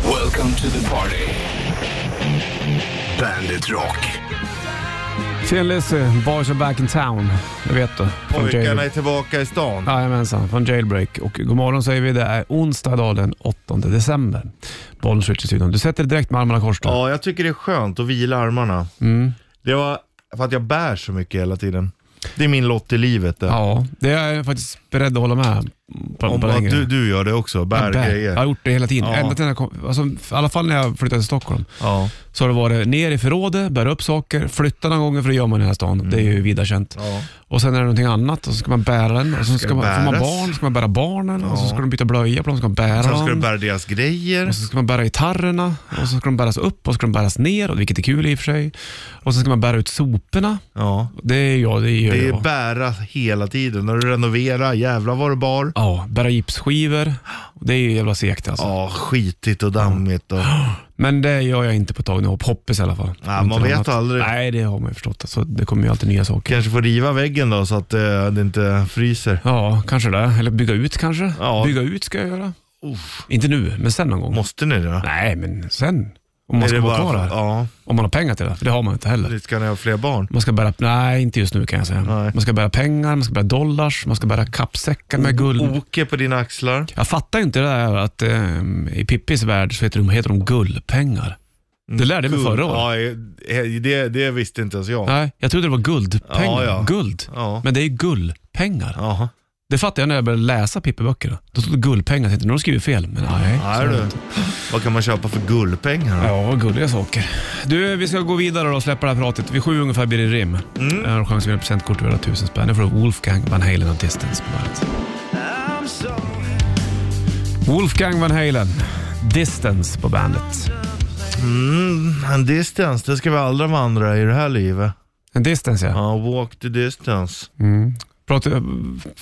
Welcome to the party. Bandit Rock. Tjena Lizzy, Boys are back in town. Det vet du. Från Pojkarna jail... är tillbaka i stan. Jajamensan, från Jailbreak. Och god morgon säger vi. Det är onsdag idag den 8 december. Bollen switch i studion. Du sätter dig direkt med armarna i kors då. Ja, jag tycker det är skönt att vila armarna. Mm. Det var för att jag bär så mycket hela tiden. Det är min lott i livet. Det. Ja, det är jag faktiskt beredd att hålla med på, Om på att längre. du, du gör det också, bär jag, bär. jag har grejer. gjort det hela tiden. Ja. Ända till när jag kom, alltså, I alla fall när jag flyttade till Stockholm Ja. så har det varit ner i förrådet, bära upp saker, flytta några gånger för det gör man i den här stan. Det är ju vida känt. Mm. Ja. Och sen är det någonting annat och så ska man bära den. Och så ska Ska man, får man bäras. barn, ska man bära barnen och så Ja. ska de byta blöja på dem, ska man bära Sen ska du dem. bära deras grejer. Och så ska man bära gitarrerna och så ska de bäras upp och så ska de bäras ner, och vilket är kul i och för sig. Och så ska man bära ut soporna. Ja. Det är jag, det gör Det är jag. bära hela tiden. När du renoverar, jävlar vad du bar. Ja, bära gipsskivor. Det är ju jävla segt alltså. Ja, skitigt och dammigt. Och... Men det gör jag inte på ett tag nu, och poppis i alla fall. Ja, Inte man något vet aldrig. Nej, det har man ju förstått. Alltså, det kommer ju alltid nya saker. Kanske får riva väggen då så att eh, det inte fryser. Ja, kanske det. Eller bygga ut kanske. Ja. Bygga ut ska jag göra. Inte nu, men sen någon gång. Måste ni det? Nej, men sen. Om man Är ska det vara bara kvar för- här. Ja, Om man har pengar till det, för det har man inte heller. det ska ni ha fler barn. Man ska bära, nej inte just nu kan jag säga. Nej. Man ska bära pengar, man ska bära dollars, man ska bära kappsäckar Oh, med guld. Oke på dina axlar. Jag fattar ju inte det där att ehm, i Pippis värld så heter de, heter de guldpengar. Det lärde jag mig förra året. året. Mm, Ja, det, det visste inte ens jag. Nej, jag trodde det var guldpengar. Ja, ja. Guld. Ja. Men det är ju guldpengar. Jaha. Det fattade jag när jag började läsa Pippi-böckerna. Då stod det guldpengar. Jag tänkte, nu har de skrivit fel. Men nej. Nej du. Vad kan man köpa för guldpengar då? Ja, gulliga saker. Du, vi ska gå vidare och släppa det här pratet. Vid sju ungefär blir det rim. Jag har en chans att vinna presentkort och göra tusen spänn. Nu får du Wolfgang Van Halen av Distance på bandet. Wolfgang Van Halen, Distance på bandet. Mm, En distance, det ska vi aldrig vandra i det här livet. En distance ja. Ja, walk the distance. Pratar,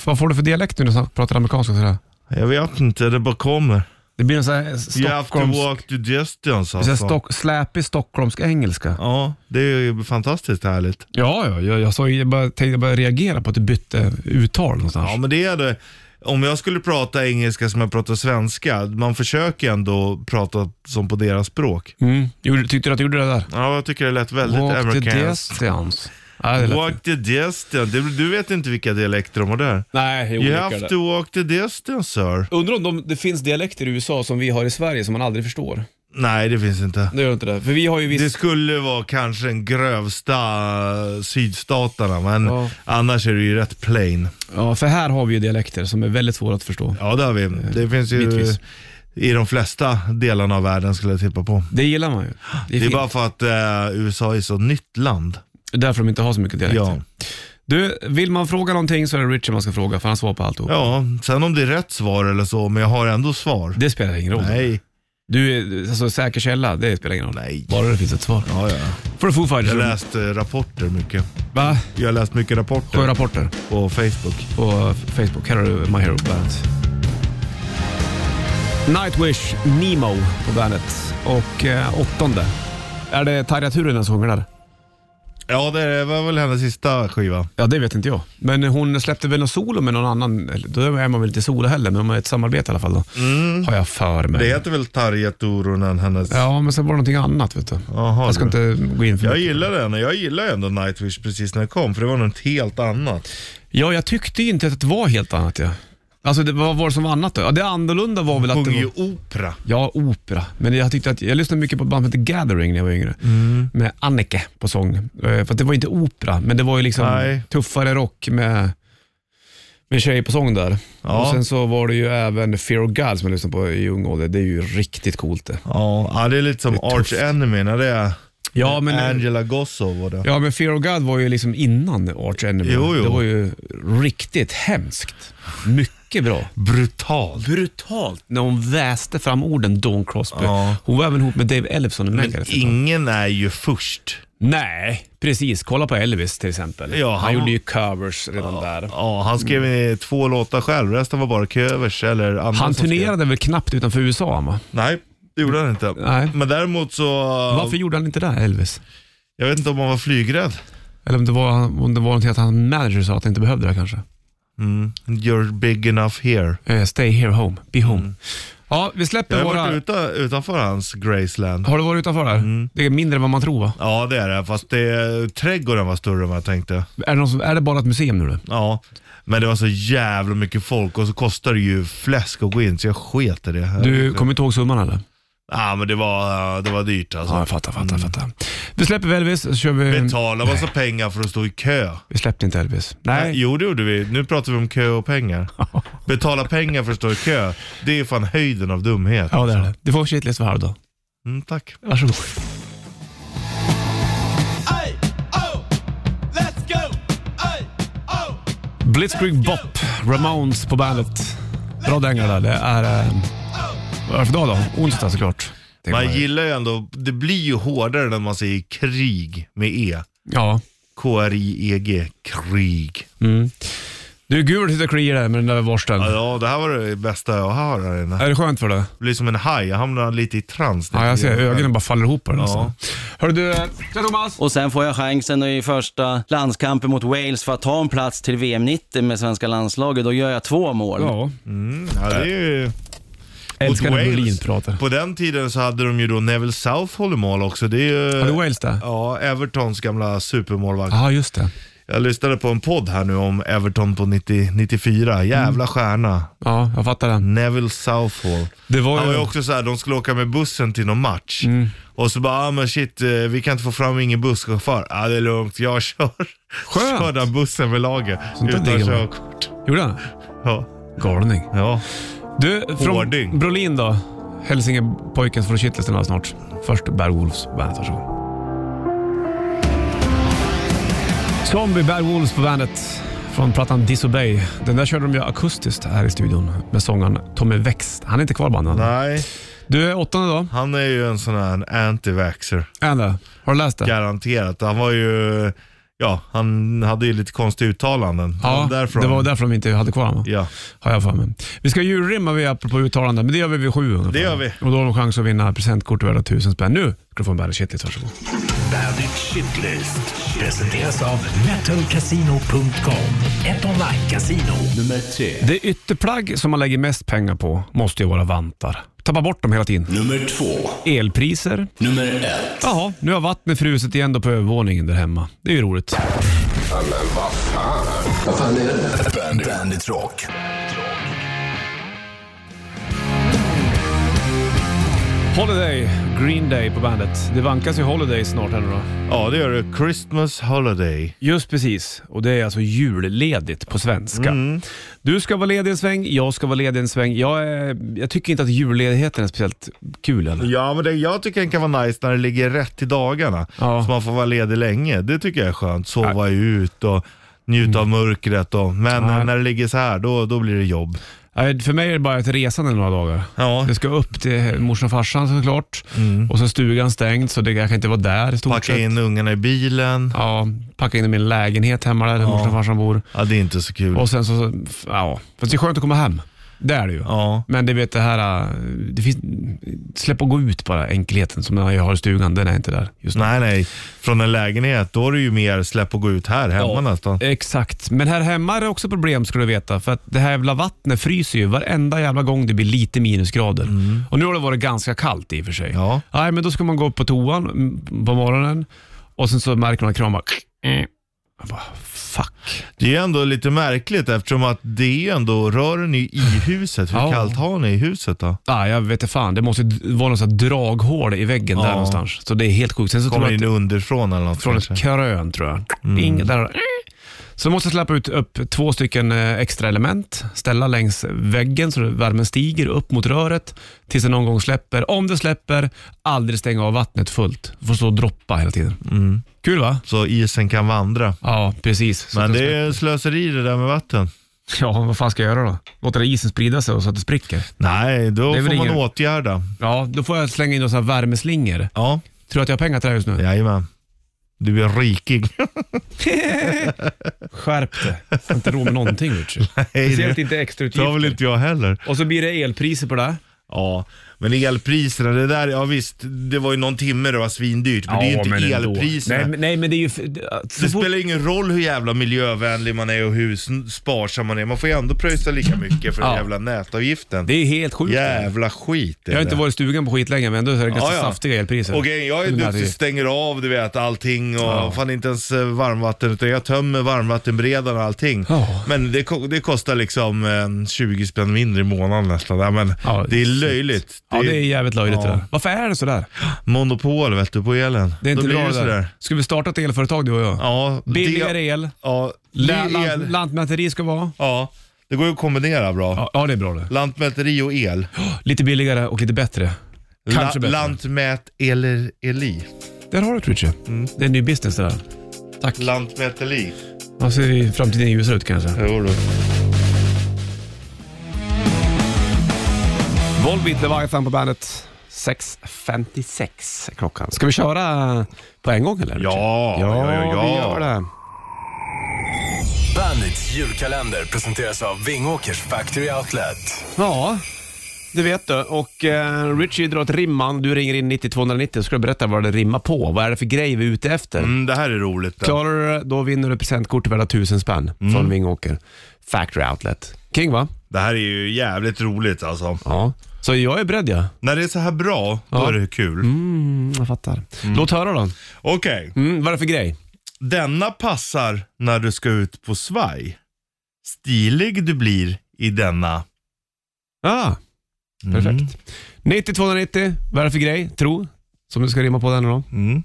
vad får du för dialekt nu när du pratar amerikanska? Sådär? Jag vet inte, det bara kommer. Det blir en sån här You have to Stockholms... walk the distance sån här alltså. stock, släpig stockholmsk engelska. Ja, det är ju fantastiskt härligt. Ja, ja, jag, jag, sa, ju- jag, bara, tänkte- jag bara reagera på att du bytte uttal någonstans. Ja, men det är det. Om jag skulle prata engelska som jag pratar svenska, man försöker ändå prata som på deras språk. Mm. Gjorde, tyckte du att du gjorde det där? Ja, jag tycker det lät väldigt Walk the amerikanskt. distance. Ja, det lät- Walk the distance. Du, du vet inte vilka dialekter de har där. Nej, You olika have det. to walk the distance sir. Undrar om de, det finns dialekter i USA som vi har i Sverige som man aldrig förstår. Nej, det finns inte. Det gör inte det. För vi har ju Det visst... skulle vara kanske den grövsta eh, sydstaterna, men Ja. annars är det ju rätt plain. Ja, för här har vi ju dialekter som är väldigt svåra att förstå. Ja, det har vi. Det finns ju bitvis. i de flesta delarna av världen skulle jag tippa på. Det gillar man ju. Det är, Det är fint. bara för att eh, USA är så nytt land. därför de inte har så mycket dialekter. Ja. Du, vill man fråga någonting så är det Richard man ska fråga, för han svarar på alltihop. ja, sen om det är rätt svar eller så, men jag har ändå svar. Det spelar ingen roll. Nej. Du är alltså, säker källa, det spelar ingen roll. Nej. Bara det finns ett svar. Ja, ja. Får du Foo Jag har Fighters? läst eh, rapporter mycket. Va? Jag har läst mycket rapporter Sjörapporter på Facebook. på Facebook. Här har du My Hero Bandet. Nightwish, Nemo på bandet. Och eh, åttonde. Är det Tarja Turunen som sjunger där? Ja, det var väl hennes sista skiva. Ja, det vet inte jag. Men hon släppte väl någon solo med någon annan. eller, Då är man väl inte solo heller, men de har ett samarbete i alla fall. Då. Har jag för mig. Det heter väl Tarja Turunen, hennes... Ja, men sen var det någonting annat. Vet du. Jaha, jag ska du. inte gå in för Jag mycket. gillar den och jag gillar ändå Nightwish precis när den kom, för det var något helt annat. Ja, jag tyckte inte att det var helt annat. Ja. Alltså, det, vad var det som var annat då? Ja, det annorlunda var väl att Sjunger det ju var... opera. Ja, opera. Men jag tyckte att, jag lyssnade mycket på ett band som hette Gathering när jag var yngre. Mm. Med Annike på sång. Eh, För att det var inte opera, men det var ju liksom Nej. tuffare rock med, med tjej på sång där. Ja. Och sen så var det ju även Fear of God som jag lyssnade på i ung ålder. Det är ju riktigt coolt det. Ja, ja, det är lite som är tufft. Arch Enemy när det är Ja, men, Angela Gossow var det. ja, men Fear of God var ju liksom innan Arch Enemy. Jo, jo. Det var ju riktigt hemskt. Mycket bra. Brutalt. brutalt när hon väste fram orden Dawn Crosby. Ja. Hon var även ihop med Dave Ellefson i Men Megadeth. ingen är ju först. Nej, precis. Kolla på Elvis till exempel. Ja, han, han- gjorde ju covers redan där. Ja, han skrev i två låtar själv, resten var bara covers eller andra Mm. Han som skrev. turnerade väl knappt utanför USA han, va? Nej, det gjorde han inte. Nej. Men däremot så... Varför gjorde han inte det, Elvis? Jag vet inte om han var flygrädd. Eller om det var, om det var något att han manager sa att han inte behövde det kanske. Mm. You're big enough here. Eh, stay here home, be home. Ja, vi släpper Mm. Jag har våra... varit Mm. uta, utanför hans Graceland. Har du varit utanför där? Det är mindre än vad man tror va? Ja, det är det. Fast det, trädgården var större än vad jag tänkte. Är det, någon som, är det bara ett museum nu då? Ja, men det var så jävla mycket folk och så kostade det ju fläsk att gå in så jag sket i det. Du kommer inte ihåg summan eller? Ja, men det var, det var dyrt alltså. Ja, jag fattar, fattar, fattar. Vi släpper Elvis, så kör vi... Betala massa pengar för att stå i kö. Vi släppte inte Elvis. Nej. Jo, det gjorde vi. Nu pratar vi om kö och pengar. Betala pengar för att stå i kö, det är fan höjden av dumhet. Ja, det är det. Du får shitlist för här då. Mm, tack. Varsågod. Ay, oh, let's go. Ay, oh, Blitzkrieg Bop, Ramones på bandet. Bra dänga där. Det är... Eh, vad är det för dag då? Onsdag såklart. Det Man var- gillar ju ändå, det blir ju hårdare när man säger krig med E. Ja. K-R-I-E-G, E krig. Mm. Du, gul sitter och kliar där med den där borsten. Ja, Ja, det här var det bästa jag har här inne. Är det skönt för dig? Det blir som en haj, jag hamnar lite i trans. Ja, jag ser. Ögonen bara faller ihop på den. Ja. Hörru du, eh, tja Thomas. Och sen får jag chansen i första landskampen mot Wales för att ta en plats till VM 90 med svenska landslaget. Då gör jag två mål. Ja, Mm, Ja, det är ju... älskar Mot när Wales. Brolin pratar. På den tiden så hade de ju då Neville Southall i mål också. Det är Har du ju... Wales där? Ja, Evertons gamla supermålvakt. Ja, just det. Jag lyssnade på en podd här nu om Everton på 90, 94. Mm. Jävla stjärna. Ja, jag fattar den. Neville Southall. Det var Han var ju... ju också så här, de skulle åka med bussen till någon match. Mm. Och så bara, ah, men shit, eh, vi kan inte få fram ingen busschaufför. Ja, ah, det är lugnt, jag kör. Skönt. Körde han bussen med laget där utan diggar man. körkort. Gjorde han? Ja. Galning. ja. Du, från Hårding. Brolin då. Hälsingepojken från Kittlesen alldeles snart. Först Bad Wolves på bandet, varsågod. Zombie Bad Wolves på bandet från plattan Disobey. Den där körde de ju akustiskt här i studion med sångaren Tommy Växt. Han är inte kvar i bandet. Nej, Du, åttonde då? han är ju en sån här anti-vaxxer. Är han det? Har du läst det? Garanterat. Han var ju, ja, han hade ju lite konstiga uttalanden. Ja, därifrån. det var därför de inte hade kvar honom. Ja. Har jag för mig. Vi ska djurrimma vi apropå uttalanden, men det gör vi vid sju ungefär. Det gör vi. Och då har de chans att vinna presentkort värda tusen spänn. Nu ska du få en Bandet Shitlist, varsågod. Bandit Shitlist presenteras av metalcasino.com. Ett online-casino. Nummer tre. Det ytterplagg som man lägger mest pengar på måste ju vara vantar. Tappa bort dem hela tiden. Nummer två. Elpriser. Nummer ett. Jaha, nu har vattnet frusit igen då på övervåningen där hemma. Det är ju roligt. Bandit, Bandit Rock. Holiday, Green Day på bandet. Det vankas ju Holiday snart här nu då. ja, det gör det. Christmas holiday. Just precis, och det är alltså julledigt på svenska. Du ska vara ledig en sväng, jag ska vara ledig en sväng. Jag, är, jag tycker inte att julledigheten är speciellt kul eller? Ja, men det, jag tycker den kan vara nice när det ligger rätt i dagarna. Ja. Så man får vara ledig länge. Det tycker jag är skönt. Sova ut och njuta av mörkret. Och, men Mm. Ja. eh, när det ligger så här, då, då blir det jobb. Nej, För mig är det bara ett resande några dagar. Ja, Mm. Jag ska upp till morsan och farsan såklart och så är stugan stängd så det, jag kan inte vara där i stort packa sett. in ungarna i bilen. Ja, packa in i min lägenhet hemma där morsan och farsan bor. Ja, det är inte så kul. Och sen så, ja. Fast det är skönt att komma hem. Det är det ju. Ja. Men det vet det här, äh, det finns, släpp och gå ut bara enkelheten som jag har i stugan, den är inte där just nu. Nej, nej. Från en lägenhet, då är det ju mer släpp och gå ut här hemma nästan. Exakt, men här hemma är det också problem ska du veta. För att det här jävla vattnet fryser ju varenda jävla gång det blir lite minusgrader. Och nu har det varit ganska kallt i och för sig. Mm. Ja. Nej, men då ska man gå upp på toan mm, på morgonen och sen så märker man kranen bara... eh. Jag bara, fuck. Det är ju ändå lite märkligt eftersom att det är ju ändå rören är ju i huset. Hur Ja. kallt har ni i huset då? Ah, jag vet inte fan, det måste d- vara något sånt här draghål i väggen där Ja. någonstans. Så det är helt sjukt. Sen så tror Kommer jag in att, underifrån eller något från kanske? Mm. ett krön tror jag. Ding, där. Så måste jag släppa ut upp två stycken eh, extra element, ställa längs väggen så värmen stiger upp mot röret tills det någon gång släpper. Om det släpper, aldrig stänga av vattnet fullt. Får stå och droppa hela tiden. Mm. Kul va? Så isen kan vandra. Ja, precis. Så Men att det är slöseri det där med vatten. Ja, vad fan ska jag göra då? Låta det isen sprida sig och så att det spricker? Nej, då Det är väl får man ingen- åtgärda. Ja, då får jag slänga in några sådana här värmeslingor. Ja, Tror du att jag har pengar till det här just nu? jajamän. Du blir rikig. Skärp dig. Jag har inte råd med någonting Richard. Nej, Speciellt det inte tar väl extrautgifter. inte jag heller. Och så blir det elpriser på det. Ja, Men elpriserna, det där, ja visst, det var ju någon timme det var svindyrt, men det är ju inte elpriserna. Nej, men- nej, men det är ju... Det spelar ingen roll hur jävla miljövänlig man är och hur sn- sparsam man är. Man får ju ändå pröjsa lika mycket för den Ja. jävla nätavgiften. Det är helt sjukt. Jävla skit är Jag har det. inte varit i stugan på skitlänge, men ändå är det ganska Ja, ja. saftiga elpriser. Och grejen, jag är Den här duktig, tiden. stänger av du vet allting och fan inte ens eh, varmvatten utan jag tömmer varmvattenberedaren och allting. Ja. Men det, ko- det kostar liksom eh, 20 spänn mindre i månaden nästan. Ja, men Ja, det är shit. löjligt. Ja, det är jävligt löjligt Ja. det där. Varför är det sådär? Monopol vet du på elen. Det är inte Då blir bra det det där. sådär. Ska vi starta ett elföretag du och jag? Ja, det- Billigare el, Ja, det la- är lant- el. lantmäteri ska vara. Ja, det går ju att kombinera bra. Ja, ja, det är bra det. Lantmäteri och el. Lite billigare och lite bättre. Kanske La- bättre. Lantmät eller Eli. Där har du det Richie. Det är en ny business det där. Tack. Lantmäteri. Då ser ju framtiden ljusare ut kanske. Jo då. Volbeat Leviathan på bandet. 6.56 är klockan. Ska vi köra på en gång eller? Richie? Ja, ja, ja, ja, ja. vi gör det. Bandits julkalender presenteras av Vingåkers Factory Outlet. Ja, det vet du. Och eh, Richie drar ett rimman. Du ringer in 90290 så ska du berätta vad det rimmar på. Vad är det för grej vi är ute efter? Mm, det här är roligt. Klarar du det, då vinner du presentkort värda 1000 spänn från Vingåker. Factory Outlet. King va? Det här är ju jävligt roligt alltså. Ja. Så jag är beredd ja. När det är så här bra, då Ja. är det kul. Mm, jag fattar. Låt höra då. Okej, Mm, vad är det för grej? denna passar när du ska ut på svaj. Stilig du blir i denna. Ah, Mm. perfekt. 90290, vad är det för grej? Tro, som du ska rimma på den då. Mm.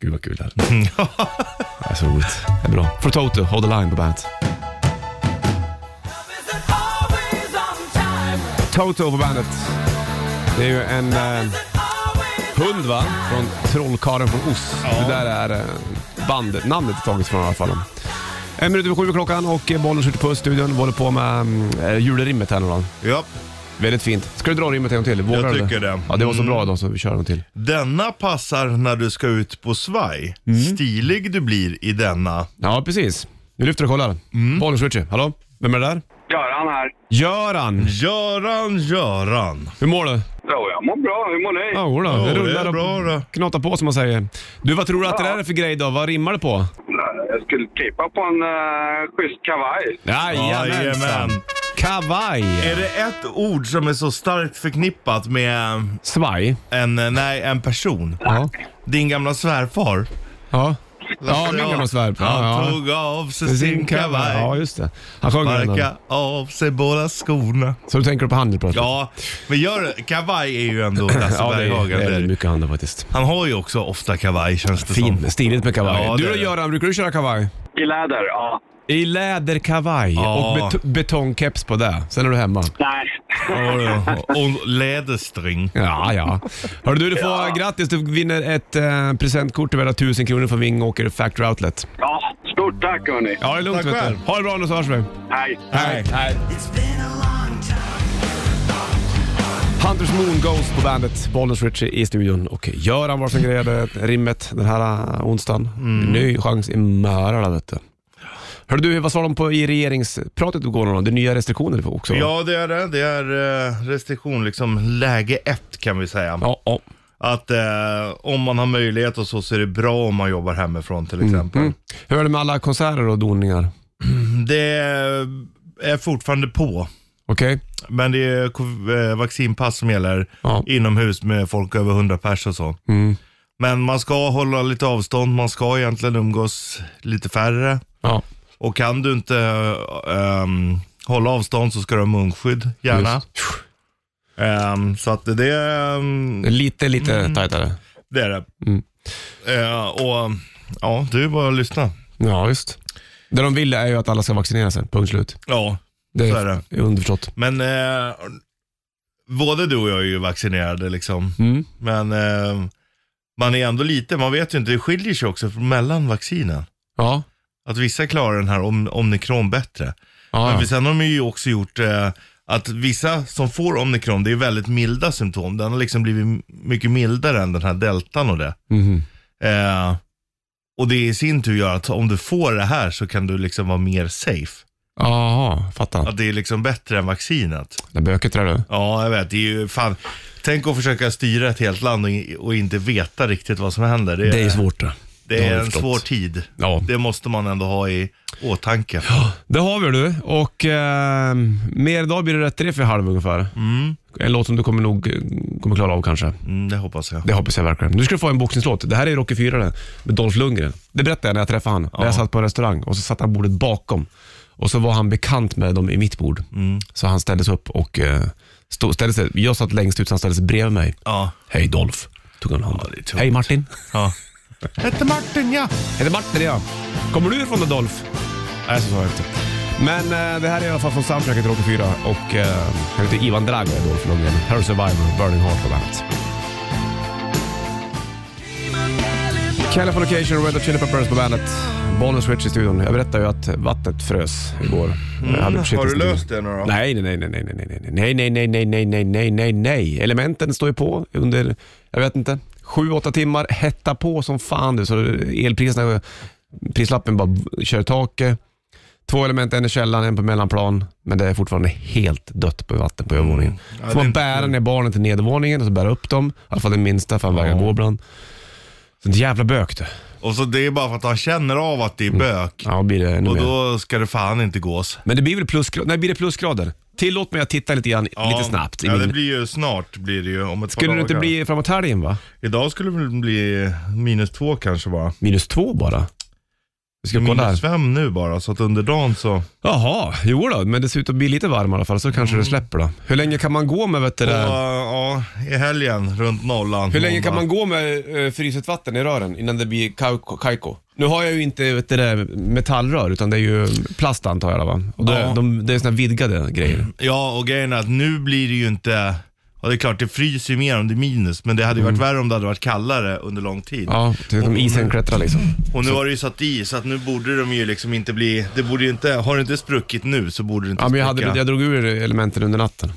Gud vad kul det här Det är så roligt. Mm. Det är bra. För Toto, Hold the Line på bandet. Toto på bandet. Det är ju en eh, hund va? Från Trollkarlen från Oz. Det där är eh, bandet, namnet är taget från i alla fall. En minut över sju är klockan och eh, bollen skjuter på studion. Vi håller på med mm, eh, julrimmet här nu då. Ja. Väldigt fint. Ska du dra rimmet en gång till? Vågar Jag du tycker det. Mm. Ja, det var så bra idag så vi kör en till. Denna passar när du ska ut på svaj. Mm. Stilig du blir i denna. Ja, precis. Vi lyfter och kollar. Mm. Bollen skjuter. Hallå? Vem är det där? Göran här. Göran! Göran, Göran. Hur mår du? Jo, jag mår bra. Hur mår ni? Ja, jodå. det det är rullar bra då. och knatar på som man säger. Du, vad tror du att det där är för grej då? Vad rimmar det på? Jag skulle klippa på en uh, schysst kavaj. Jajamensan! Jajamän. Kavaj! Är det ett ord som är så starkt förknippat med Svaj? en, nej, en person? Ja. Din gamla svärfar. Ja, ja min gamla svärp. Ja, Han ja. tog av sig sin kavaj. Ja, just det. Han sjöng den. Sparka här. av sig båda skorna. Så du tänker på handel på något sätt? Ja, men gör, kavaj är ju ändå Lasse ja det, är, Berghagen. det är där. mycket handel faktiskt. Han har ju också ofta kavaj känns det som. Fin, stiligt med kavaj. Ja, du det då är det. Göran, brukar du köra kavaj? I läder, ja. I läderkavaj Ja. och bet- betongkeps på det. Sen är du hemma. Nej. Ja, ja. Och läderstring. Ja, ja. Hörru du, du får grattis. Du vinner ett eh, presentkort värda 1000 kronor från Vingåker Factory Outlet. Ja, stort tack hörni. Ja, det är lugnt Tack vet själv. du. Ha det bra nu så hörs vi. Hej. Hej. Hunters Moon Ghost på bandet. Bollnäs Ritchie i studion och Göran var som grejade rimmet den här eh, onsdagen. Mm. Ny chans i Mörala vet du. Hörru du, vad sa de på i regeringspratet igår? någon gång? Det är nya restriktioner också va? Ja, det är det. Det är eh, restriktion, liksom läge ett kan vi säga. Ja, ja. Att eh, om man har möjlighet och så, så är det bra om man jobbar hemifrån till Mm. exempel. Hur är det med alla konserter och doningar? Det är fortfarande på. Okej? Men det är co- eh, vaccinpass som gäller Ja. Mm. inomhus med folk över 100 pers och så. Men man ska hålla lite avstånd, man ska egentligen umgås lite färre. Ja. Och kan du inte eh, ehm, hålla avstånd så ska du ha munskydd gärna. Ehm, så att det, ehm, Lite, lite tajtare. det är det. Mm. Eh, och ja, du är bara att lyssna. Ja, just. Det de vill är ju att alla ska vaccinera sig, punkt slut. Ja, Det Så är det. underförstått. men eh, både du och jag är ju vaccinerade liksom. Mm. Men eh, man är ändå lite, man vet ju inte, det skiljer sig också mellan vaccinen. Ja. Att vissa klarar den här om, omikron bättre. Ah, Ja, Men ja. sen har de ju också gjort eh, att vissa som får omikron, det är väldigt milda symptom. Den har liksom blivit m- mycket mildare än den här deltan och det. Mhm. Eh, och det i sin tur gör att om du får det här så kan du liksom vara mer safe. Jaha, fattar. Att det är liksom bättre än vaccinet. Det är böket tror du. Ja, jag vet. Det är ju fan. Tänk att försöka styra ett helt land och, i- och inte veta riktigt vad som händer. Det är, Det är svårt. Det, det har är jag en förstått. svår tid. Eh, Ja. Det måste man ändå ha i åtanke. Det har vi du och eh, mer idag blir det rätt riff i halv ungefär. En låt som du kommer nog eh, kommer klara av kanske. Mm, det hoppas jag. Det hoppas jag verkligen. Nu ska du få en boxningslåt. Det här är Rocky 4 den, med Dolph Lundgren. Det berättade jag när jag träffade han. När jag satt på en restaurang och så satt han bordet bakom. Och så var han bekant med dem i mitt bord. Mm. Så han ställde sig upp och eh, stod, ställde sig, jag satt längst ut så han ställde sig bredvid mig. Ja. Hej Dolph, tog han handen. det är tungt. Hej Martin. ja. Hette Martin, ja. Heter Martin ja. Kommer du ifrån det Dolph? Nej, så sa jag inte. Men eh, det här är i alla fall från soundtracket till Rocky 4 och eh, han heter Ivan Drago, är Dolph Lundgren. Här är Survivor, Burning Heart på bandet. Californication, Red Hot Chili Peppers på bandet. Bonus Switch i studion. Jag berättade ju att vattnet frös igår. Jag hade precis- Mm, Har du löst det nu då? Nej, nej, nej, nej, nej, nej, nej, nej, nej, nej, nej, nej, nej, nej, nej. Elementen står ju på under, jag vet inte, sju, åtta timmar. Hetta på som fan du, så elpriserna, prislappen bara v- kör i taket. Två element, en i källaren, en på mellanplan. Men det är fortfarande helt dött på vatten på övervåningen. Mm. Ja, Får det man är- bära ner barnen till nedervåningen och så bära upp dem. I alla fall den minsta, för han vägrar gå ibland. Så ett jävla bök du. Och så det är bara för att han känner av att det är bök. Mm. Ja, då blir det ännu Och mer. då ska det fan inte gås. Men det blir väl plusgrader? Nej, blir det plusgrader? Tillåt mig att titta lite, grann, Ja. lite snabbt. i Ja, min- det blir ju snart blir det ju om ett Skulle par det inte dagar. bli framåt helgen va? Idag skulle det väl bli minus två kanske bara. Minus två bara? Vi ska kolla Minus här. fem nu bara, så att under dagen så... Jaha, jo då, men det ser ut att bli lite varmare i alla fall, så kanske Mm. det släpper då. Hur länge kan man gå med, vet du, Och, det- ja, i helgen runt nollan. hur länge kan man måndag. gå med uh, fruset vatten i rören innan det blir kajko- kajko? Nu har jag ju inte vet du, det, metallrör, utan det är ju plast antar jag. Va? Och då, Ja. de, det är såna här vidgade grejer. Ja, och grejen är att nu blir det ju inte... Ja, det är klart, det fryser ju mer om det är minus, men det hade ju Mm. varit värre om det hade varit kallare under lång tid. Ja, typ som isen klättrar liksom. Och nu har det ju satt i, så att nu borde de ju liksom inte bli... Det borde ju inte... Har det inte spruckit nu så borde det inte Ja, men jag, hade, spricka. jag drog ur elementen under natten.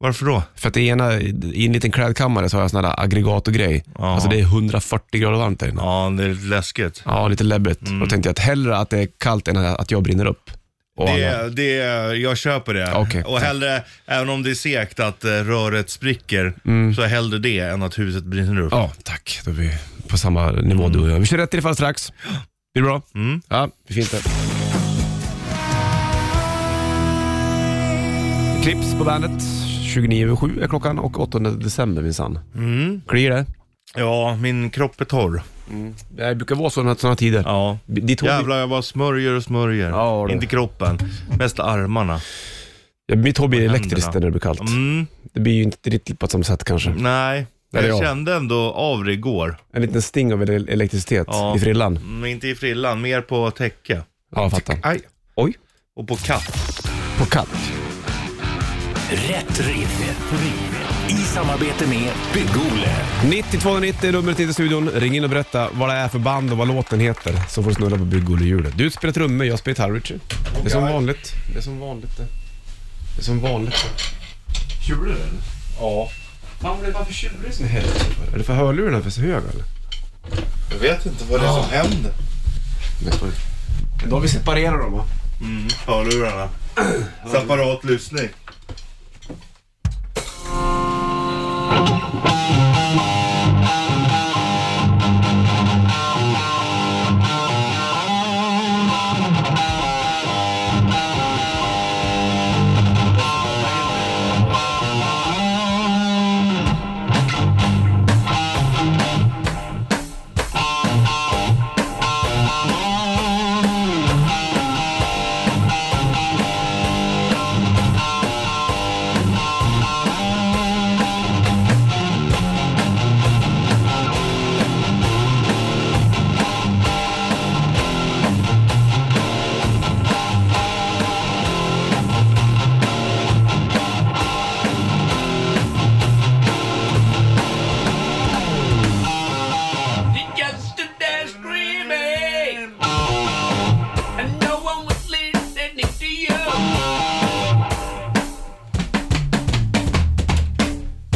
Varför då? För att det ena, i en liten klädkammare så har jag sån här aggregat och grej. Ja. Alltså det är 140 grader varmt där inne. Ja, det är lite läskigt. Ja, Mm. lite läbbigt. Då tänkte jag att hellre att det är kallt än att jag brinner upp. Och alla- Det, det, jag köper det. Okej. Och hellre, även om det är segt att eh, röret spricker, så hellre det än att huset brinner upp. Mm. Ja, tack. Då är vi på samma nivå du och jag. Vi kör rätt i det fall strax. Blir det bra? Mm. Ja, det är fint det. Clips på bandet. 29.07 är klockan och 8 december minsann. Mm. Kliar det? Ja, min kropp är torr. Det brukar vara sådana, sådana tider. Ja. Ditt hår, Jävlar, jag bara smörjer och smörjer. Ja, du. Inte kroppen, mest armarna. ja, mitt hår blir händerna. elektriskt när det blir kallt. Mm. Det blir ju inte riktigt på samma sätt kanske. Nej, Där är jag jag. kände ändå av det igår. En liten sting av el- elektricitet Ja. i frillan. Men inte i frillan, mer på täcke. Ja, jag fattar. Aj. Oj. Och på katt. På katt. Rätt riff. I samarbete med Bygg-Ole. 9290 är numret till studion. Ring in och berätta vad det är för band och vad låten heter, så får du snurra på bygg Du spelar trummor, jag spelar gitarr, Richie. Det är som vanligt. Det är som vanligt det. Det är som vanligt det. Tjurar du eller? Ja. Fan, vad- varför tjurar du i sin helvete? Är det för hörlurarna för så höga eller? Jag vet inte vad det är som händer. Då har vi separerat dem va? Mm, hörlurarna. Separat lyssning.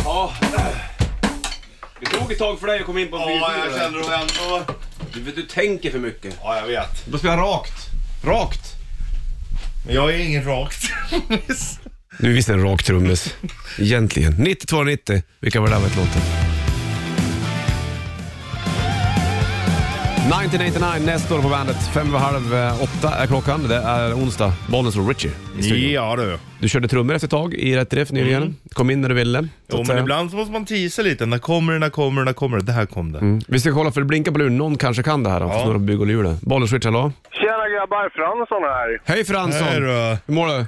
Ja. Det tog ett tag för dig att komma in på det ändå. Du, du tänker för mycket. Ja, jag vet. Du spelar rakt. Rakt. Men jag är ingen rak trummis. Nu visst är det en rak trummis. Egentligen. 9290. Vilka var det där med låten? 1989, nästa år på bandet. Fem över halv eh, åtta är klockan. Det är onsdag. Bollnäs och Richie i studion. Ja du. Du körde trummor efter ett tag i Rätt Riff nyligen. Kom in när du ville. så Jo, att men säga. ibland så måste man tisa lite. När kommer det, när kommer det, när kommer det? Det här kom det. Vi ska kolla för det blinkar på luren. Någon kanske kan det här. Han får Ja. snurra på bygg och lure. Bollnäs Richie, hallå? Tjena grabbar, Fransson här. Hej Fransson! Här då. Hur mår du?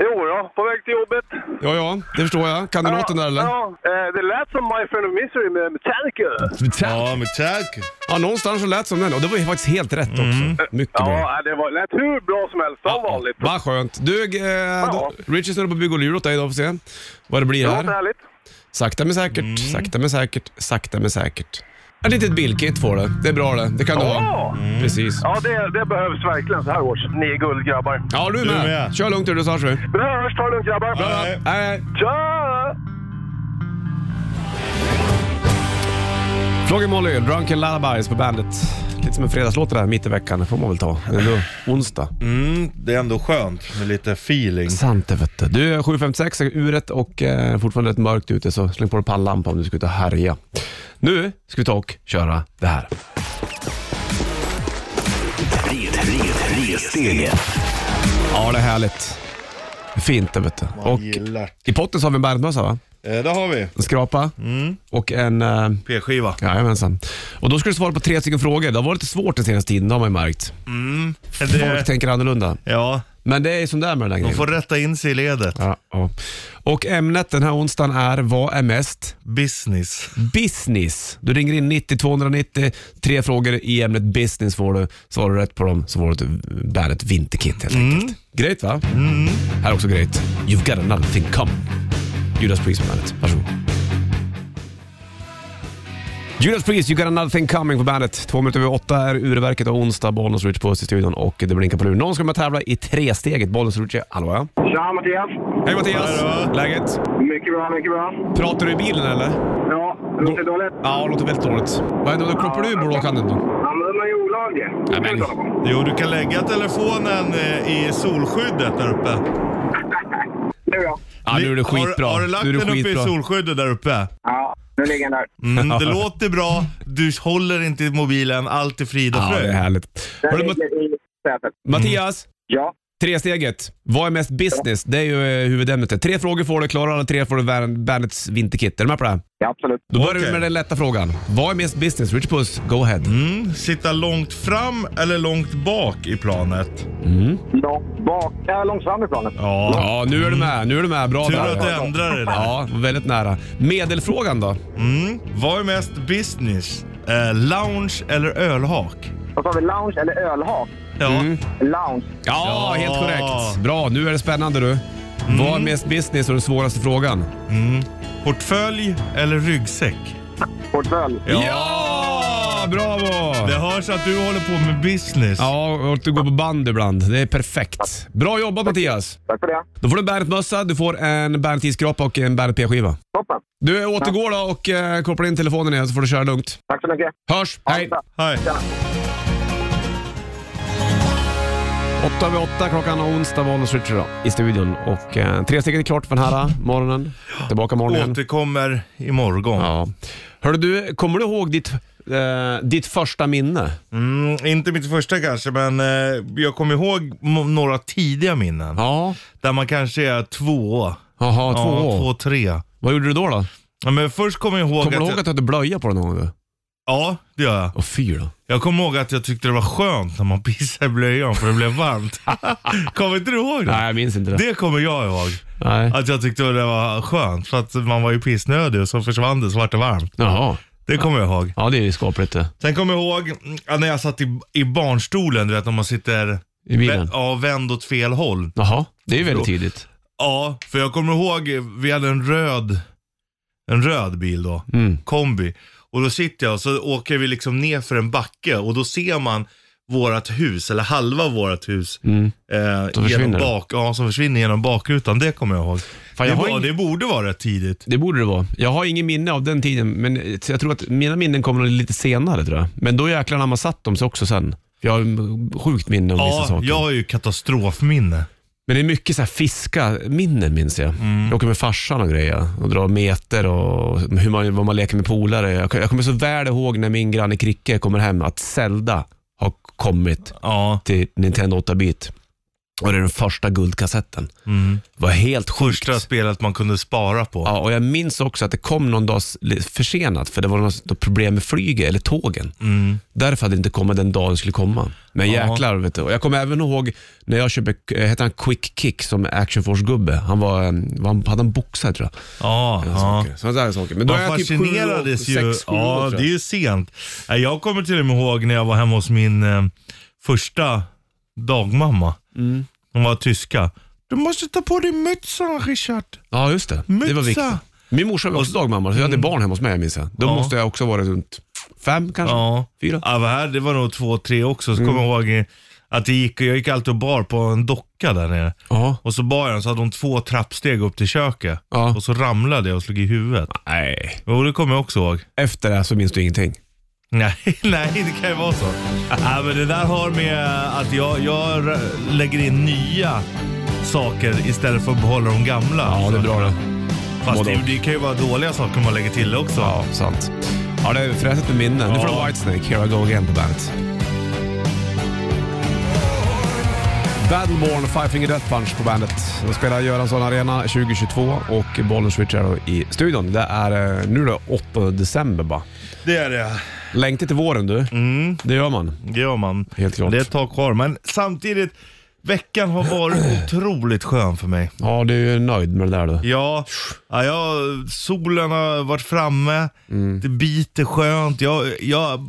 Jo då, på väg till jobbet. Ja, ja, det förstår jag. Kan du låten där eller? Ja, eh, det lät som My Friend of Misery med Metallica. Ja, men tack. Ja, någonstans så lät det som den. Och det var ju faktiskt helt rätt också. Mm. Mycket bra. Ja, eh, det var, lät hur bra som helst, som vanligt. Vad skönt. Du, eh, då, Richie snurrar på bygg och lur åt dig idag, får se vad det blir Det låter här. härligt. Sakta men säkert, sakta men säkert, sakta men säkert. Ett litet bilkit får du. Det är bra det. Det kan du ha. Ja, Precis. ja det, det behövs verkligen så här års. Ni är guld grabbar. Ja, du är Du är med. med. Kör lugnt du, så hörs vi. Vi hörs, ta det lugnt grabbar. Nej. Hej, hej. Tja! Flogging Molly, Drunken Lullabies på bandet. Lite som en fredagslåt det där, mitt i veckan. Det får man väl ta. Det är ändå onsdag. Mm, det är ändå skönt med lite feeling. Sant det vet du. Du är 7.56 är uret och eh, fortfarande rätt mörkt ute så släng på dig pannlampa om du ska ut och härja. Nu ska vi ta och köra det här. Ja, det är härligt. Fint det vet du. Och Gillar. i potten så har vi en bandmössa va? Eh, där har vi. En skrapa Mm. och en... Eh, P-skiva. jajamensan. Och då ska du svara på tre stycken frågor. Det har varit lite svårt den senaste tiden, det har man ju märkt. Folk Det, tänker annorlunda. ja, Men det är som det är med den här de grejen. Mm. får rätta in sig i ledet. Ja, ja. Och ämnet den här onsdagen är Vad är mest Business. business? Du ringer in 90 290, tre frågor i ämnet business får du. Svarar du rätt på dem så får du ett- bär ett vinterkit helt enkelt. Grejt va? Här är också grejt. You've got another thing coming. Judas Priest på bandet. Varsågod. Judas Priest, You got another thing coming på bandet. Två minuter över åtta är urverket och onsdag. Bollnäs Ritch på oss i studion och det blinkar på luren. Någon ska med och tävla i tresteget. Bollnäs Ritch, hallå ja. Tja Mattias! Hej Mattias! Hallå. Läget? Mycket bra, mycket bra. Pratar du i bilen eller? Ja, det låter dåligt. Ja, det låter väldigt dåligt. Vad händer om du kloppar ur bråkandet då? Ja, men de är ju olagliga. Ja, men- Jo, du kan lägga telefonen eh, i solskyddet där uppe. Nu då? Ja, nu är det skitbra. Har, har du nu är lagt det den uppe i skitbra. solskyddet där uppe? Ja, nu ligger den där. Mm, det låter bra. Du håller inte i mobilen. Allt är frid och Ja, det fröjd. är härligt. Den Hörru, Mat- ligger i sätet. Mattias, Ja. tresteget. Vad är mest business? Det är ju eh, huvudämnet. Tre frågor får du. Klarar alla tre får du Van- Bandits vinterkit. Är du med på det? här? Ja, absolut. Då börjar vi Okej. med den lätta frågan. Vad är mest business? Rich Puss, go ahead. Mm, sitta långt fram eller långt bak i planet? Långt bak, äh, långt fram i planet. Mm. Ja. Ja, nu är du med. Nu är du med. Bra Tur där. att du ändrade det där. Ja, väldigt nära. Medelfrågan då? Mm. Vad är mest business? Eh, lounge eller ölhak? Vad sa vi, lounge eller ölhak? Ja. Mm. Lounge. Ja, Ja. Mm. helt korrekt. Bra, nu är det spännande du. Vad är mest business och den svåraste frågan? Portfölj eller ryggsäck? Portfölj. Ja! Bravo! Det hörs att du håller på med business. Ja, och du går på band ibland. Det är perfekt. Bra jobbat Mattias! Tack för det. Då får du en Bernet-mössa, du får en Bernet iskrapa och en Bernet p-skiva. Toppen. Du återgår då och eh, kopplar in telefonen igen så får du köra lugnt. Tack så mycket. Hörs! Hej! bra. Hej. Åtta över åtta klockan och onsdag, Bollnäs Ritchie då i studion. Och eh, tre steget är klart för den här eh, morgonen. Tillbaka morgonen. igen. Återkommer imorgon. Ja. Hörru du, kommer du ihåg ditt, eh, ditt första minne? Mm, inte mitt första kanske, men eh, jag kommer ihåg m- några tidiga minnen. Ja. Där man kanske är två. Jaha, två ja, år. två, tre. Vad gjorde du då? då? Ja, men först kommer jag ihåg Kommer du att... ihåg att jag... du hade blöja på dig någon gång? då? Ja, det gör jag. Och fyr då? Jag kommer ihåg att jag tyckte det var skönt när man pissade i blöjan för det blev varmt. kommer inte du ihåg det? Nej, jag minns inte det. Det kommer jag ihåg. Nej. Att jag tyckte det var skönt för att man var ju pissnödig och så försvann det så vart det varmt. Jaha. Det kommer jag ihåg. Ja, det är ju eh, skapligt det. Sen kommer jag ihåg mm, ja, när jag satt i, i barnstolen, du vet när man sitter I bilen? ja, vänd åt fel håll. Jaha, det är ju väldigt tidigt. Ja, för jag kommer ihåg, eh, vi hade en röd, en röd bil då, Mm. kombi. Och då sitter jag och så åker vi liksom ner för en backe och då ser man vårat hus, eller halva vårat hus, eh, genom Mm. försvinner. bak, ja, som försvinner genom bakrutan. Det kommer jag ihåg. Fan, jag det, har var, ing- det borde vara rätt tidigt. Det borde det vara. Jag har ingen minne av eh, den tiden, men jag tror att mina minnen kommer lite senare tror jag. Men då jäklar när man satt dem sig också sen. Jag har m- sjukt minne om vissa Ja, saker. jag har ju katastrofminne. Men det är mycket så här fiska-minnen minns jag. Mm. Jag åker med farsan och grejer och drar meter och hur man, vad man leker med polare. Jag, jag kommer så väl ihåg när min granne Kricke kommer hem att Zelda har kommit Ja. till Nintendo 8-bit. Och det är den första guldkassetten. Mm. Det var helt sjukt. Första spelet man kunde spara på. Ja, och jag minns också att det kom någon dag s- li- försenat för det var något problem med flyget eller tågen. Mm. Därför hade det inte kommit den dagen det skulle komma. Men Ja. jäklar vet du. Och jag kommer även ihåg när jag köpte, eh, hette han Quick Kick som Action Force-gubbe. Han var, en- var han, hade en boxare tror jag. Ja, ja. Saker. Sådana där saker. Men då är Man jag typ sju år, fascinerades ju. sex, sju Ja, år, tror det är jag. ju sent. Nej, Jag kommer till och med ihåg när jag var hemma hos min eh, första dagmamma. Mm. Hon var tyska. Du måste ta på dig mössan Richard. Ja, just det. Det var Myxa. viktigt. Min morsa var också dagmamma, så jag hade barn hemma hos mig minns jag. Då Ja. måste jag också ha varit runt fem kanske? Ja. Fyra? Mm. Ja, vad här, det var nog två, tre också. Så kommer jag ihåg eh, att det gick, jag gick alltid och bar på en docka där nere. Ja. Och så bar jag den så hade hon två trappsteg upp till köket. Ja. Och så ramlade jag och slog i huvudet. Nej. Jo, det kommer jag också ihåg. Efter det här så minns du ingenting. Nej, nej, det kan ju vara så. Nej, men det där har med att jag, jag lägger in nya saker istället för att behålla de gamla. Ja, det är bra det. Fast Både det, och. det kan ju vara dåliga saker man lägger till också. Ja, sant. Ja, det är fräset med minnen. Nu får Ja. du Whitesnake, Here I Go Again på bandet. Battleborn, Five Finger Death Punch på bandet. De spelar Göransson Arena 2022 och bollen switchar då i studion. Det är eh, nu då 8 december bara. Det är det. Längtar till våren du. Det gör man. Det gör man. Helt klart. Det är ett tag kvar. Men samtidigt, veckan har varit otroligt skön för mig. Ja, du är ju nöjd med det där du. Ja, ja jag, solen har varit framme, det biter skönt. Jag, jag,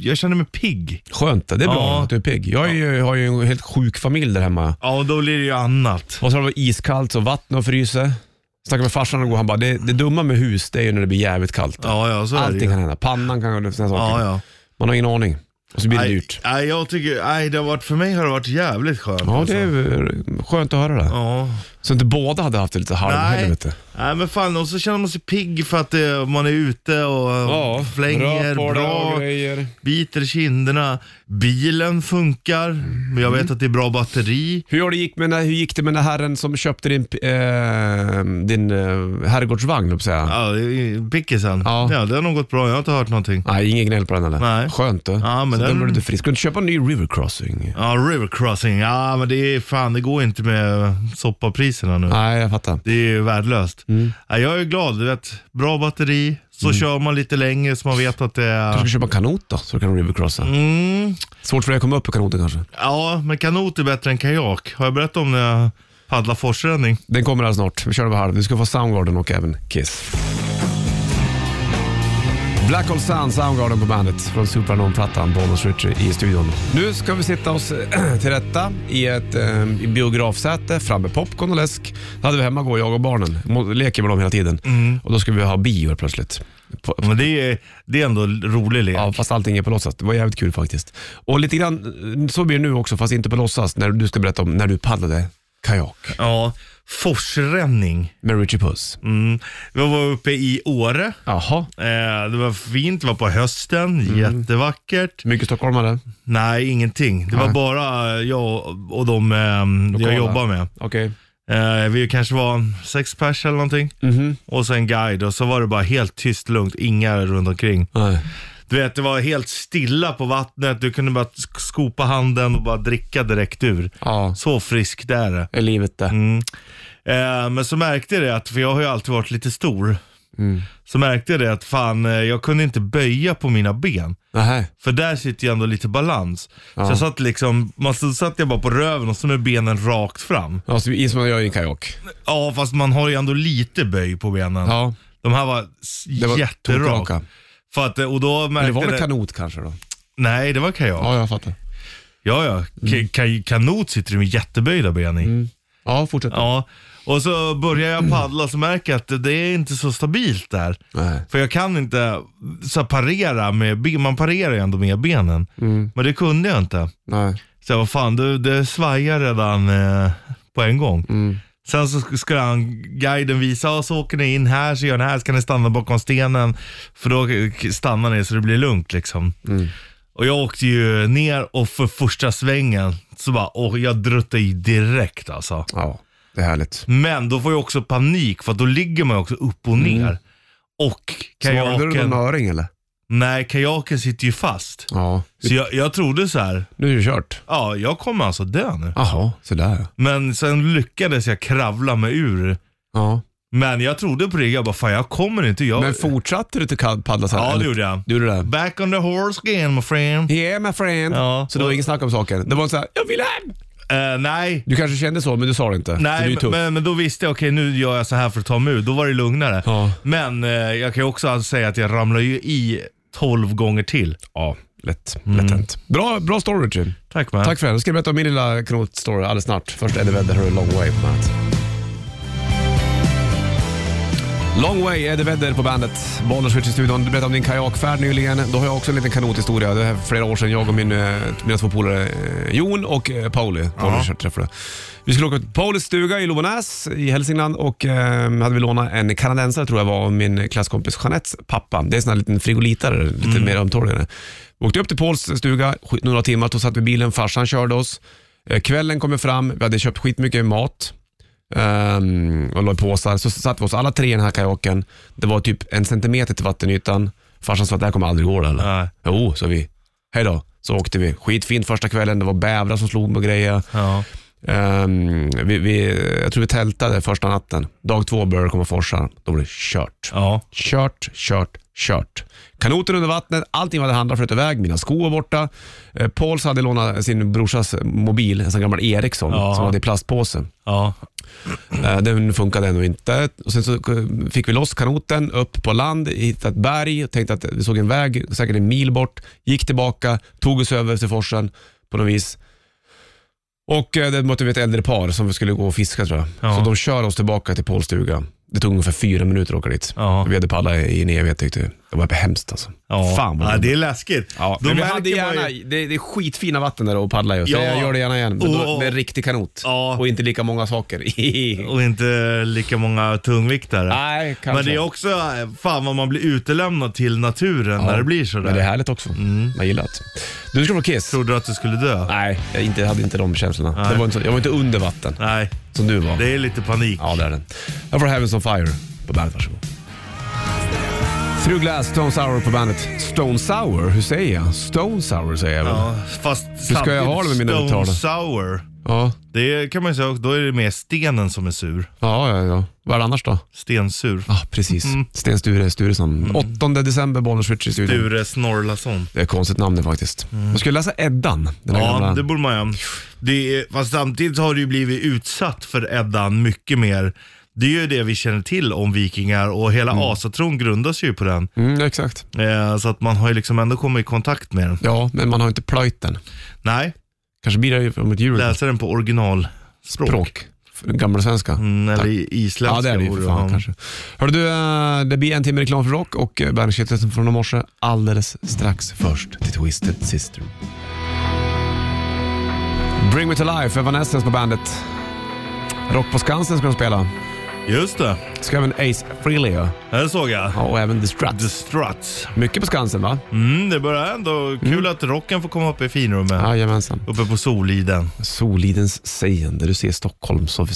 jag känner mig pigg. Skönt, det är bra Ja. att du är pigg. Jag är ju, har ju en helt sjuk familj där hemma. Ja, och då blir det ju annat. Och så har det varit iskallt så vatten har fryser. Snackade med farsan och han bara, det, det dumma med hus det är ju när det blir jävligt kallt. Ja, ja, så är det ju. Allting kan hända. Pannan kan hända, sådana saker. Ja, ja. Man har ingen aning. Och så blir det Nej, dyrt. Nej, jag tycker, nej, det har varit, för mig har det varit jävligt skönt. Ja, alltså. det är ju skönt att höra det. Ja. Så inte båda hade haft det lite Nej. halvhelvete. nej, men fan och så känner man sig pigg för att eh, man är ute och eh, flänger rör på det bra, och grejer. biter i kinderna, bilen funkar, men jag Mm. vet att det är bra batteri. Hur, har det gick med, den- hur gick det med den här herren som köpte din, eh, din eh, herrgårdsvagn, höll jag på att säga? Ja, det är- pickisen. Ja. Ja. det har nog gått bra, jag har inte hört någonting. Nej, ingen gnäll på den eller? Nej. Skönt du. Ja, men så den den- blev du frisk. Ska du inte köpa en ny River Crossing? Ja, River Crossing, ja men det är fan, det går inte med soppapriserna nu. Nej, jag fattar. Det är ju värdelöst. Mm. Ja, jag är glad, du vet. Bra batteri, så kör man lite längre så man vet att det Du ska är... köpa en kanot då, så du kan rivercrossa. Mm. Svårt för dig att komma upp i kanoten kanske. Ja, men kanot är bättre än kajak. Har jag berättat om när jag paddlade forsränning? Den kommer alldeles snart. Vi kör över halv. Du ska få Soundgarden och även Kiss. Black Hole Sun, Soundgarden på bandet från Supernon-plattan, Bonus Richie i studion. Nu ska vi sitta oss till rätta i ett eh, i biografsäte, fram med popcorn och läsk. Det hade vi hemma igår, jag och barnen. Mo- Leker med dem hela tiden. Mm. Och då ska vi ha bio helt plötsligt. På- Men det är, det är ändå en rolig lek. Ja, fast allting är på låtsas. Det var jävligt kul faktiskt. Och lite grann eh, så blir det nu också, fast inte på låtsas, när du ska berätta om när du paddlade kajak Ja, forsränning. med Richie Puss. Mm. Jag var uppe i Åre. Jaha. Eh, det var fint, det var på hösten, Mm. jättevackert. Mycket stockholmare? Nej, ingenting. Det var Nej. bara jag och de eh, jag Lokala. jobbar med. Okej. Eh, vi kanske var sex pers eller någonting. Mhm. Och sen guide och så var det bara helt tyst, lugnt, inga runt omkring. Nej. Du vet, det var helt stilla på vattnet. Du kunde bara sk- skopa handen och bara dricka direkt ur. Ja, Så frisk det är det. är livet det. Mm. Eh, men så märkte jag det att, för jag har ju alltid varit lite stor. Mm. Så märkte jag det att fan, eh, jag kunde inte böja på mina ben. Nähä. För där sitter ju ändå lite balans. Ja. Så jag satt liksom, man, så satt jag bara på röven och så med benen rakt fram. Ja, så vi- som man gör Alltså, i en kajak. Ja, fast man har ju ändå lite böj på benen. Ja, De här var, s- det var jätteraka. tokraka. För att, eh, och då märkte Eller var det jag kanot kanske då? Nej, det var kajak. Ja, jag fattar. ja. Mm. Ka- ka- kanot sitter ju med jätteböjda ben i. Ja, fortsätt. Ja, och så börjar jag paddla så märker jag att det är inte så stabilt där. Nej. För jag kan inte så här, parera med, ben- man parerar ju ändå med benen. Mm. Men det kunde jag inte. Nej. Så jag, vad fan, du, det svajar redan eh, på en gång. Sen så sk- skulle han, guiden visa, "Ja, så åker ni in här, så gör eh, ni här, så kan ni stanna bakom stenen. För då k- stannar ni så det blir lugnt liksom. Och jag åkte ju ner och för första svängen så bara, och jag druttade i direkt alltså. Ja, det är härligt. Men då får jag också panik för att då ligger man ju också upp och ner. Och Svalde du kajaken, någon öring eller? nej kajaken sitter ju fast. Ja. Så jag, jag trodde så här, Nu är det kört. ja jag kommer alltså dö nu. Jaha, sådär Men sen lyckades jag kravla mig ur. ja. Men jag trodde på det, jag bara fan jag kommer inte. Jag, Men fortsatte du till kad- paddla sen? ja eller? det gjorde jag. Du gjorde det? Back on the horse again my friend. Yeah my friend. Ja. Så det var inget snack om saken. Det var så här, jag vill hem! Eh, nej, Du kanske kände så, men du sa det inte. för du är nej ju tuff. men, men då visste jag okej nu gör jag så här för att ta mig ur. Då var det lugnare. Ja. Men eh, jag kan ju också säga att jag ramlar ju i 12 gånger till. Ja, lätt. Mm. Lätt hänt. Bra, bra story Jim. Tack man. Tack för det. Då ska jag berätta om min lilla knotstory alldeles snart. Först Eddie Vedder, hör du Long Way på bandet. Long Way, Eddie Vedder på bandet. Bollnerswitch i studion. Du berättade om din kajakfärd nyligen. Då har jag också en liten kanothistoria. Det här är flera år sedan. Jag och min, eh, mina två polare eh, Jon och eh, Pauli. Pauli ja. träffade. Vi skulle åka till Paulis stuga i Lovånäs i Hälsingland och eh, hade vi lånat en kanadensare tror jag var av min klasskompis Jeanettes pappa. Det är en sån här liten frigolitare, lite mer ömtåligare. Vi åkte upp till Pauls stuga, skit- några timmar, då satt vi i bilen, farsan körde oss. Eh, Kvällen kom vi fram, vi hade köpt skitmycket mat. Ehm, och la i påsar. Så satt vi oss alla tre i den här kajaken. Det var typ en centimeter till vattenytan. Farsan sa att det här kommer aldrig gå. Eller? Nej. Jo, sa vi. Hej då. Så åkte vi. Skitfint första kvällen. Det var bävrar som slog och grejer. Ja. Ehm, vi, vi, jag tror vi tältade första natten. Dag två började det komma forsar. Då var det kört. Ja. Kört, kört, kört. Kanoten under vattnet, allting var det handlat flöt iväg. Mina skor var borta. Eh, Pauls hade lånat sin brorsas mobil, en sån gammal Ericsson Ja. som hade i plastpåse. Ja. Eh, Den funkade ändå inte. Och sen så eh, fick vi loss kanoten upp på land, hittade ett berg, tänkte att vi såg en väg säkert en mil bort. Gick tillbaka, tog oss över till forsen på något vis. Och eh, det mötte vi ett äldre par som skulle gå och fiska tror jag. Ja. Så de kör oss tillbaka till Pauls stuga. Det tog ungefär fyra minuter att åka dit. Ja. Vi hade paddlat i en evighet tyckte vi. Det var hemskt alltså. ja. Fan vad ja, det... det är läskigt. Ja, Då men vi märker hade man gärna, ju- det, det är skitfina vatten där att paddla i. Så Ja. jag gör det gärna igen. Men då Och- med en riktig kanot. Ja. Och inte lika många saker. Och inte lika många tungviktare. Nej, kanske. Men det är också, eh, fan vad man blir utelämnad till naturen när det blir sådär. Mm. Men det är härligt också. Jag gillar det. Du ska få Kiss. Trodde du att du skulle dö? Nej, jag inte, jag hade inte de känslorna. Det var inte, så- jag var inte under vatten, Nej. som du var. Det är lite panik. Ja, det är den. Jag får Heavens on Fire på bandet, varsågod. Through Glass, Stone Sour på bandet. Stone Sour? Hur säger jag? Stone Sour säger jag väl? Ja. Ja, fast ska jag ha det med mina Stone uttalanden? sour. Ja, Det kan man ju säga, också, då är det mer stenen som är sur. ja, ja. Vad är det annars då? Stensur. Ja, ah, precis. Sten Sture Sturesson. 8 december, Bollnäs Switch i studion. Mm. Sture Snorlason. Det är ett konstigt namn det faktiskt. Man skulle läsa Eddan. Den här Ja, gamla... det borde man ju. Det är, fast samtidigt har du ju blivit utsatt för Eddan mycket mer. Det är ju det vi känner till om vikingar och hela asatron grundas ju på den. Mm, exakt. Eh, så att man har ju liksom ändå kommit i kontakt med den. Ja, men man har inte plöjt den. Nej, Kanske blir det ju om ett djur. läsa den på originalspråk. språk. Gamla svenska. Mm, eller Tack. i- isländska Ja, det är det ju borde för fan ha. kanske. Hörru du, eh, det blir en timme reklam för rock och eh, bandkittelsen från i morse alldeles strax först till Twisted Sister. Bring Me To Life, Evanescence på bandet. Rock på Skansen ska de spela. Just det, Ska även Ace Frehley göra. här såg jag. ja, och även The The Struts. Struts. Mycket på Skansen va? Mm, det börjar ändå. Kul Mm. att rocken får komma upp i finrummet. Jajamensan. Uppe på Soliden. Solidens seende, du ser Stockholm så...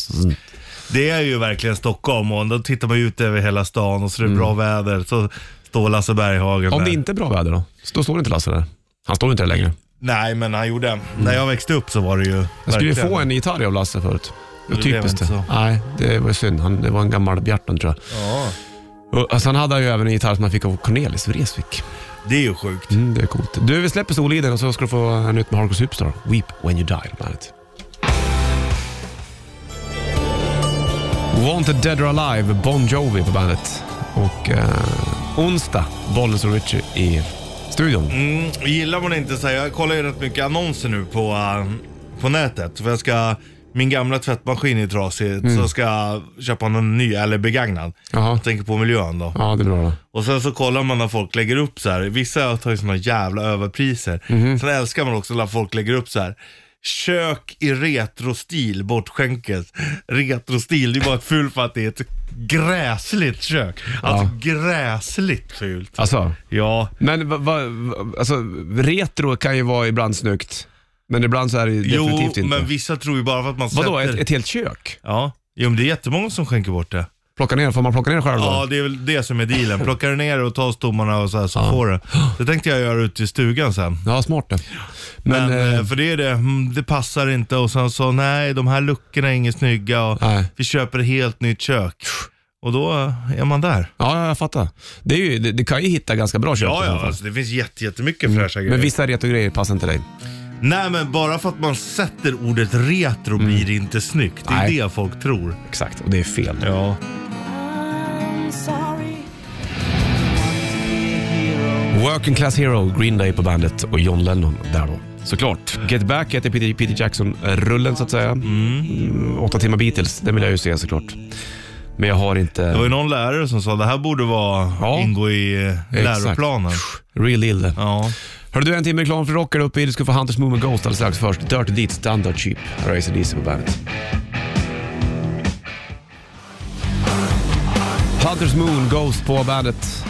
Det är ju verkligen Stockholm och då tittar man ut över hela stan och så är det bra väder. Så står Lasse Berghagen Mm. Om där. det inte är bra väder då? Då står inte Lasse där. Han står inte där längre. Nej, men han gjorde. När jag växte upp så var det ju Mm. Jag skulle ju verkligen- få en gitarr av Lasse förut. Det var Det blev typiskt inte det. så. Nej, det var synd. Han, det var en gammal Bjarton tror Ja, jag. Och, alltså, han hade ju även en gitarr som han fick av Cornelis Vreeswijk. det är ju sjukt. Mm, det är coolt. Du, vi släpper Soliden och så ska du få en ut med Hardcore Superstar. Weep When You Die, bland annat. Wanted Dead or Alive, Bon Jovi på bandet. Och eh, onsdag, Bollnäs och Richie i studion. Mm, gillar man inte så här, jag kollar ju rätt mycket annonser nu på, äh, på nätet. För jag ska, min gamla tvättmaskin är trasig, så jag ska köpa en ny, eller begagnad. Mm. Jaha. Jag tänker på miljön då. Ja, det är bra då. Och sen så kollar man när folk lägger upp så här. Vissa tar ju såna jävla överpriser. Mhm. Sen älskar man också när folk lägger upp så här. Kök i retrostil bortskänket. Retrostil, det är bara ett fult för att det är ett gräsligt kök. Alltså gräsligt fult. Alltså, Ja, men va, va, va- alltså, retro kan ju vara ibland snyggt, men ibland så är det ju definitivt jo, inte. men vissa tror ju bara för att man Vadå, sätter... ett, ett helt kök? Ja, jo men det är jättemånga som skänker bort det. Plocka ner, får man plocka ner själv då? Ja, det är väl det som är dealen. Plockar du ner det och tar stommarna och så här så får du. Det tänkte jag göra ute i stugan sen. Ja, smart det. Men, Men, eh, eh, för det är det, mm, det passar inte och sen så nej, de här luckorna är inget snygga och Nej. vi köper ett helt nytt kök. Och då eh, är man där. ja, jag fattar. Det, är ju, det, det kan ju hitta ganska bra kök. i Ja, så ja, fall. alltså, det finns jätte, jättemycket fräscha Mm. grejer. Men vissa retrogrejer passar inte dig. Nej, men bara för att man sätter ordet retro blir det inte snyggt. Det är Mm. Nej. det folk tror. Exakt, och det är fel. Ja. Working Class Hero, Green Day på bandet och John Lennon där då. Såklart. Get Back heter Peter, Peter Jackson-rullen så att säga. Mm, åtta timmar Beatles, den vill jag ju se såklart. Men jag har inte... Det var ju någon lärare som sa det här borde vara, Ja. ingå i eh, Exakt. läroplanen. Real ill. Ja. Hör du, en timme reklam för rockare uppe i. Du ska få Hunters Movement Ghost alldeles strax. Först Dirty Deeds, Standard Cheap. Här har ACDC på bandet. Hunters Moon Ghost på bandet.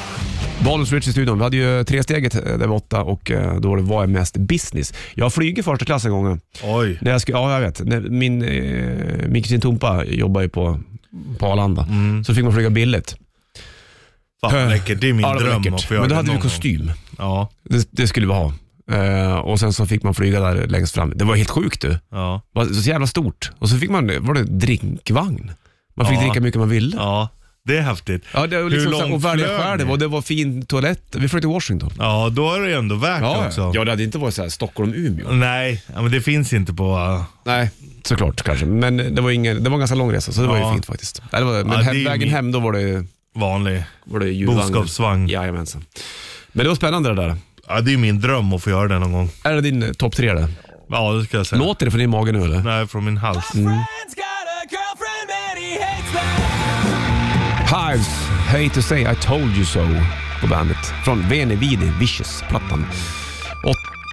Bollens Rich i studion. Vi hade ju tresteget eh, där borta och eh, då det var det mest business. Jag flyger första klass en gång. Oj. När jag skulle, ja, jag vet. När min, eh, min kusin Tompa jobbar ju på, på Arlanda. Mm. Så fick man flyga billigt. Fan vad läckert. Det är min Ja, det var dröm läckert. att få göra Men då det hade vi någon gång. kostym. Ja, Det, det skulle vi ha. Eh, och sen så fick man flyga där längst fram. Det var helt sjukt du. Det ja, var så jävla stort. Och så fick man, var det drinkvagn? Man fick Ja. dricka hur mycket man ville. Ja. ja. Det är häftigt. det var liksom Hur så här, långt och välja flög själv ni? och det var fin toalett. Vi flög till Washington. Ja, då är det ändå värt det Ja, också. ja. ja, det hade inte varit så här Stockholm-Umeå. Nej, ja, men det finns inte på... eh, Nej, såklart kanske. Men det var, ingen, det var en ganska lång resa, så det var Ja. ju fint faktiskt. Nej, det var, men Ja, det är hem, ju vägen min- hem, då var det, vanlig var det julvagn. boskapsvagn. Ja. Jajamensan. Men det var spännande det där. det är min dröm att få göra det någon gång. Är det din eh, topp tre det? Ja, det ska jag säga. Låter det från din mage nu eller? Nej, från min hals. Mm. Friend's got a girlfriend and he hates me. Hives, Hate to say I told you so på bandet. Från Veni Vidi, Vicious-plattan.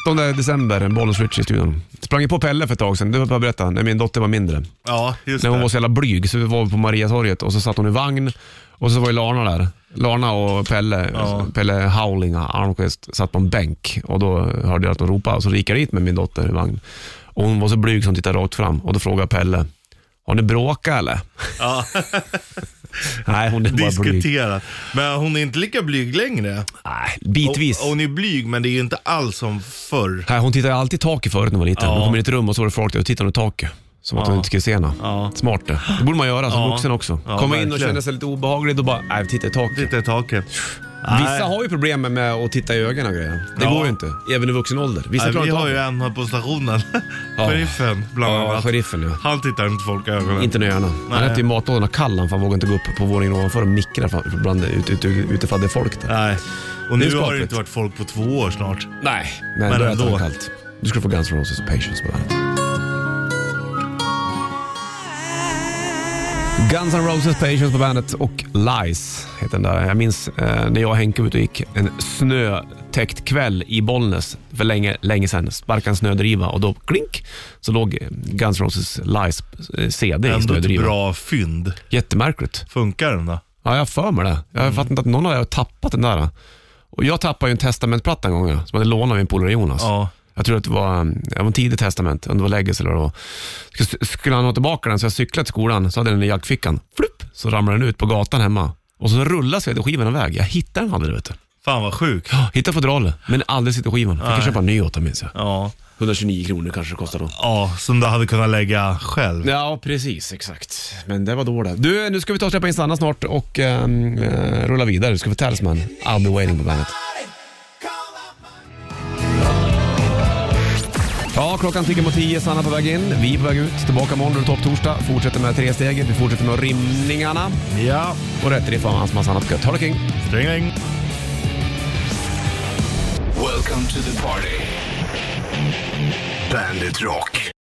8 december, Bollens Rich i studion. Sprang ju på Pelle för ett tag sedan, det var bara att berätta, när min dotter var mindre. Ja, just När hon var det. så jävla blyg så var vi på Mariatorget och så satt hon i vagn och så var ju Larna där. Larna och Pelle, Ja. Pelle Howling Almqvist satt på en bänk och då hörde jag att de ropade och så gick jag dit med min dotter i vagn. Och hon var så blyg som tittade rakt fram och då frågade Pelle, har ni bråkat eller? Ja, Nej, hon är bara blyg. diskuterat. Men hon är inte lika blyg längre. Nej, Och- bitvis. Hon är blyg, men det är inte alls som förr. Nej, hon tittade alltid i taket förut när hon var liten. Ja. Hon kom in i ett rum och så var det folk där och tittade under taket. Som att hon inte skulle se henne. Ja. Smart det. Det borde man göra som Ja. vuxen också. Ja, Komma in och verkligen. känna sig lite obehaglig och bara, nej, titta i taket. Titta i taket. Vissa har ju problem med att titta i ögonen och grejer. Det Ja. går ju inte, även i vuxen ålder. Vissa Nej, klarar vi inte har av ju det. en här på stationen. Ja. Sheriffen, bland Ja, annat. sheriffen ja. Han tittar inte folk i ögonen. Inte nu gärna. Han Nej. äter ju matlådorna kall han, för han vågar inte gå upp på våningen ovanför och mickra för- bland, ute, ute, utifrån det är folk där. Nej. Och Det är nu har skapligt. det inte varit folk på två år snart. Nej, men, Men då äter han ändå. kallt. Du skulle få Guns N' Roses och Patience på bandet. Guns N' Roses, Patience på bandet och Lies heter den där. Jag minns eh, när jag och Henke var ute och gick en snötäckt kväll i Bollnäs för länge, länge sedan. Sparkade en snödriva och då klink så låg eh, Guns N' Roses Lies eh, CD i Ändå ett snödrivan. bra fynd. Jättemärkligt. Funkar den då? Ja, jag har för mig det. Mm. Jag fattar inte att någon av er har tappat den där. Och jag tappade ju en testamentplatta en gång, ja, som jag hade lånat av min polare Jonas. Ja. Jag tror att det var, um, det var en tidig testament, om det var legacy eller vad det var. Sk- Skulle han ha tillbaka den så jag cyklade till skolan, så hade jag den i jackfickan. Flupp, så ramlade den ut på gatan hemma. Och så rullade CD-skivan iväg. Jag hittade den aldrig, vet du. Fan vad sjukt. Hittade fodralet, men aldrig CD-skivan. Fick jag köpa en ny åt honom, minns jag. Ja. 129 kronor kanske det kostade då. Ja, som du hade kunnat lägga själv. Ja, precis. Exakt. Men det var då det. Du, nu ska vi ta och släppa in Sanna snart och ehm, eh, rulla vidare. Du ska få Talisman, I'll be waiting på bandet. Ja, klockan tickar mot tio. Sanna på väg in. Vi är på väg ut. Tillbaka måndag och topptorsdag. Fortsätter med tre steget. Vi fortsätter med rimningarna. Ja. Och rätt riff och hans massa annat gött. Ha det king! Sträng, Welcome to the party. Bandit Rock.